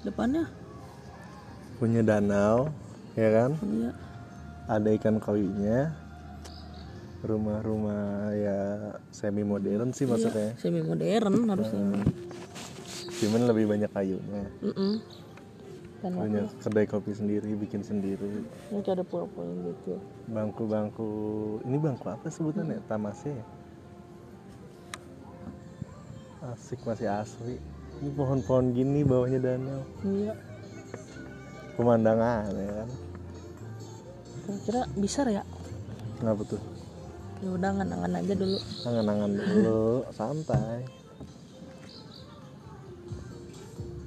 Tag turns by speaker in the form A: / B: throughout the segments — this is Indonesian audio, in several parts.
A: depannya
B: punya danau ya kan
A: iya
B: ada ikan koinya rumah-rumah ya semi modern sih maksudnya
A: semi modern harusnya
B: cuman lebih banyak kayunya
A: Mm-mm. dan
B: punya kedai kopi sendiri bikin sendiri
A: ini kayak ada pulau-pulau gitu
B: bangku-bangku ini bangku apa sebutannya tamasnya ya? asik masih asli ini pohon-pohon gini bawahnya danau
A: iya
B: pemandangan ya kan
A: kira-kira bisa ya
B: kenapa tuh
A: ya udah nganangan aja dulu
B: angan-angan dulu santai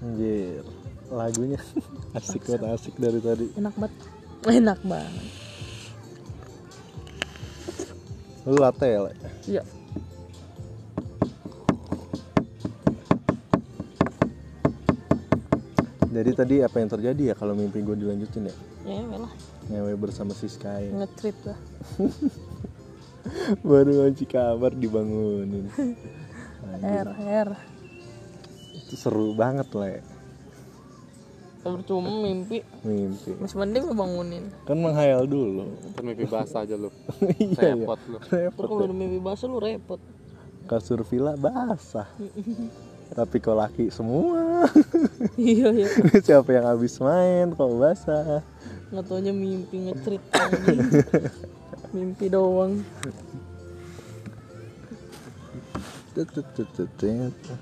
B: anjir lagunya asik banget asik dari tadi
A: enak banget enak banget
B: lu latte ya Le?
A: iya
B: jadi tadi apa yang terjadi ya kalau mimpi gue dilanjutin ya
A: ya lah
B: ngewe bersama si Sky
A: ngetrip lah
B: baru ngasih kabar dibangunin
A: air air
B: itu seru banget le
A: cuma mimpi
B: mimpi
A: masih mending lu bangunin
B: kan menghayal dulu
C: Ntar Kan mimpi basah aja lu
B: iya ya
C: Repot lu
A: Terus
B: repot
A: kalau udah mimpi basah lu repot
B: kasur villa basah tapi kok laki semua
A: iya iya
B: siapa yang habis main kok basah
A: nggak taunya mimpi ngetrip anjing. mimpi doang
B: Tut, tut, tut, tut, tut.